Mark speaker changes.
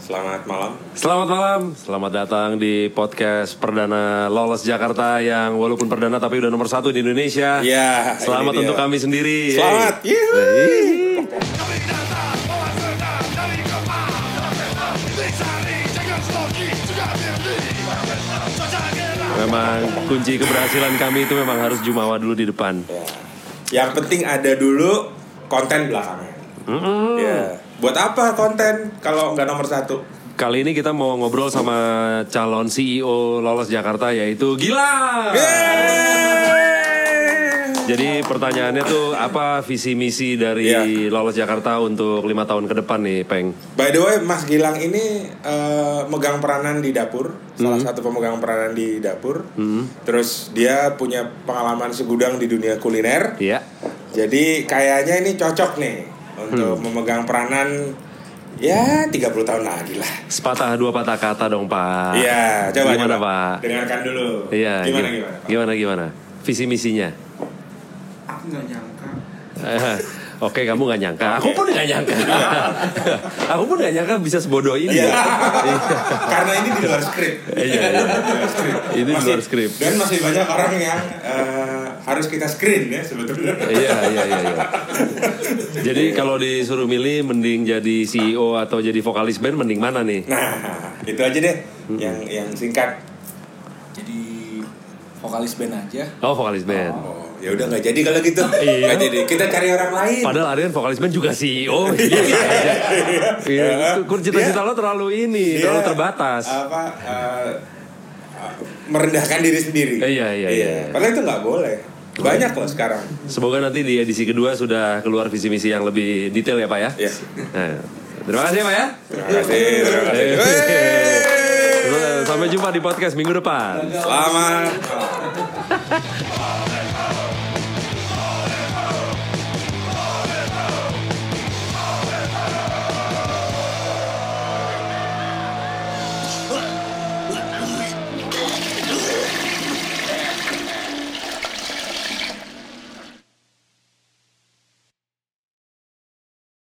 Speaker 1: Selamat malam.
Speaker 2: Selamat malam, selamat datang di podcast perdana Lolos Jakarta yang walaupun perdana tapi udah nomor satu di Indonesia.
Speaker 1: Ya, ini
Speaker 2: Selamat
Speaker 1: dia.
Speaker 2: untuk kami sendiri.
Speaker 1: Selamat.
Speaker 2: Yeay.
Speaker 1: Yuhu.
Speaker 2: Yeay. Memang kunci keberhasilan kami itu memang harus jumawa dulu di depan.
Speaker 1: Ya. Yang penting ada dulu konten belakangnya. Ya. Buat apa konten kalau nggak nomor satu?
Speaker 2: Kali ini kita mau ngobrol sama calon CEO Lolos Jakarta yaitu Gilang.
Speaker 1: Yeay.
Speaker 2: Jadi pertanyaannya tuh apa visi misi dari
Speaker 1: Iya.
Speaker 2: Lolos Jakarta untuk lima tahun ke depan nih, Peng?
Speaker 1: By the way, Mas Gilang ini eh, megang peranan di dapur, salah
Speaker 2: Hmm.
Speaker 1: satu pemegang peranan di dapur. Terus dia punya pengalaman segudang di dunia kuliner.
Speaker 2: Iya.
Speaker 1: Jadi kayaknya ini cocok nih
Speaker 2: Hmm.
Speaker 1: untuk memegang peranan ya 30 tahun lagi lah.
Speaker 2: Sepatah dua patah kata dong, Pak.
Speaker 1: Iya, coba
Speaker 2: Gimana,
Speaker 1: coba.
Speaker 2: Pak?
Speaker 1: Dengarkan dulu.
Speaker 2: Iya.
Speaker 1: Gimana
Speaker 2: gi-
Speaker 1: gimana? Pak?
Speaker 2: Gimana gimana? Visi misinya.
Speaker 3: aku nggak nyangka
Speaker 2: Eh, Oke, kamu nggak nyangka. Aku pun nggak nyangka. Aku pun nggak nyangka bisa sebodoh ini.
Speaker 1: Iya.
Speaker 2: ya.
Speaker 1: Karena ini di luar skrip.
Speaker 2: Iya, iya.
Speaker 1: Skrip.
Speaker 2: Ini di
Speaker 1: Masih-
Speaker 2: luar skrip.
Speaker 1: Dan masih banyak orang yang eh, harus kita screen ya sebetulnya.
Speaker 2: Iya, iya, iya, iya. Jadi
Speaker 1: Iya.
Speaker 2: kalau disuruh milih mending jadi CEO atau jadi vokalis band mending mana nih?
Speaker 1: Nah, itu aja deh yang yang singkat.
Speaker 3: jadi vokalis band aja
Speaker 2: Oh, vokalis band.
Speaker 1: Oh, ya udah nggak jadi kalau gitu.
Speaker 2: Iya.
Speaker 1: Nggak jadi. Kita cari orang lain.
Speaker 2: Padahal Aryan vokalis band juga CEO. Iya, iya, iya. Iya, kur- cita-cita lo terlalu ini,
Speaker 1: Dia,
Speaker 2: terlalu terbatas.
Speaker 1: Iya. Apa eh, merendahkan diri sendiri.
Speaker 2: Eh, iya, iya, iya.
Speaker 1: Padahal itu nggak boleh. Banyak loh sekarang.
Speaker 2: Semoga nanti di edisi kedua sudah keluar visi misi yang lebih detail ya Pak ya.
Speaker 1: Iya.
Speaker 2: Nah, terima kasih Pak ya.
Speaker 1: Terima kasih. Terima kasih.
Speaker 2: Eh.
Speaker 1: Wey.
Speaker 2: Sampai jumpa di podcast minggu depan.
Speaker 1: Selamat.